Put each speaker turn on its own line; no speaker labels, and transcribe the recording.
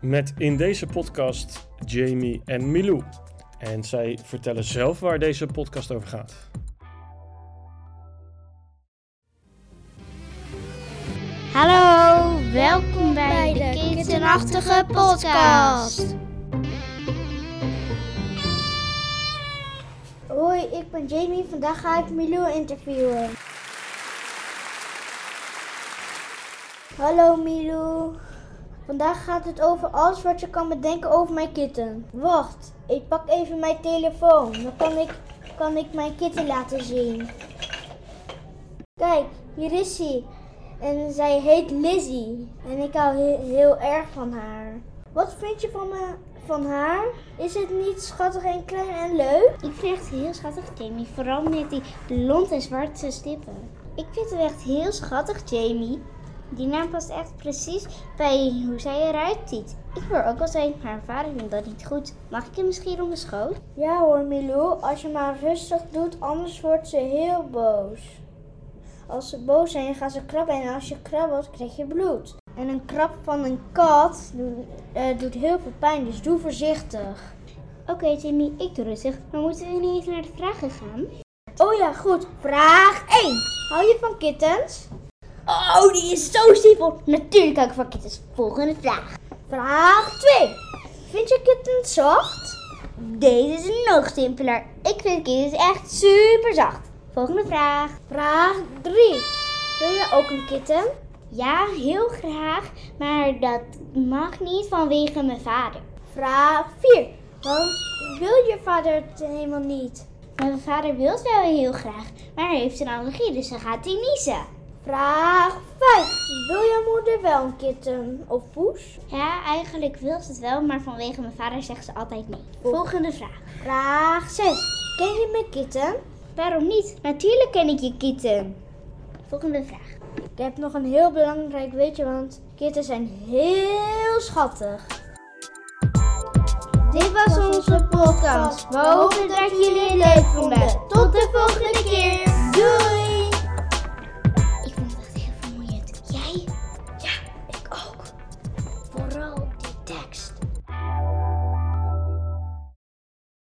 met in deze podcast Jamie en Milou. En zij vertellen zelf waar deze podcast over gaat.
Hallo, welkom bij de Kinderachtige Podcast.
Hoi, ik ben Jamie. Vandaag ga ik Milou interviewen. Hallo Milou. Vandaag gaat het over alles wat je kan bedenken over mijn kitten. Wacht, ik pak even mijn telefoon. Dan kan ik, kan ik mijn kitten laten zien. Kijk, hier is hij. En zij heet Lizzie. En ik hou he- heel erg van haar. Wat vind je van, me, van haar? Is het niet schattig en klein en leuk?
Ik vind het heel schattig, Jamie. Vooral met die blond en zwarte stippen. Ik vind het echt heel schattig, Jamie. Die naam past echt precies bij hoe zij eruit ziet. Ik wil ook al zijn, maar vader vindt dat niet goed. Mag ik hem misschien op mijn schoot?
Ja hoor Milou, als je maar rustig doet, anders wordt ze heel boos. Als ze boos zijn, gaan ze krabben en als je krabbelt, krijg je bloed. En een krab van een kat doet, eh, doet heel veel pijn, dus doe voorzichtig.
Oké, Jamie, ik doe rustig. Maar moeten we nu even naar de vragen gaan?
Oh ja, goed. Vraag 1. Hou je van kittens? Oh, die is zo simpel.
Natuurlijk ook van kittens. Volgende vraag.
Vraag 2. Vind je kittens zacht?
Deze is nog simpeler. Ik vind kittens echt super zacht. Volgende vraag.
Vraag 3. Wil je ook een kitten?
Ja, heel graag, maar dat mag niet vanwege mijn vader.
Vraag 4. Waarom wil je vader het helemaal niet?
Mijn vader wil het wel heel graag, maar hij heeft een allergie, dus dan gaat hij niezen.
Vraag 5. Wil je moeder wel een kitten of poes?
Ja, eigenlijk wil ze het wel, maar vanwege mijn vader zegt ze altijd nee. Volgende vraag.
Oh. Vraag 6. Ken je mijn kitten?
Waarom niet? Natuurlijk ken ik je kitten. Volgende vraag.
Ik heb nog een heel belangrijk weetje, want kitten zijn heel schattig. Dit was onze podcast. We hopen dat jullie het leuk vonden. Tot de volgende keer!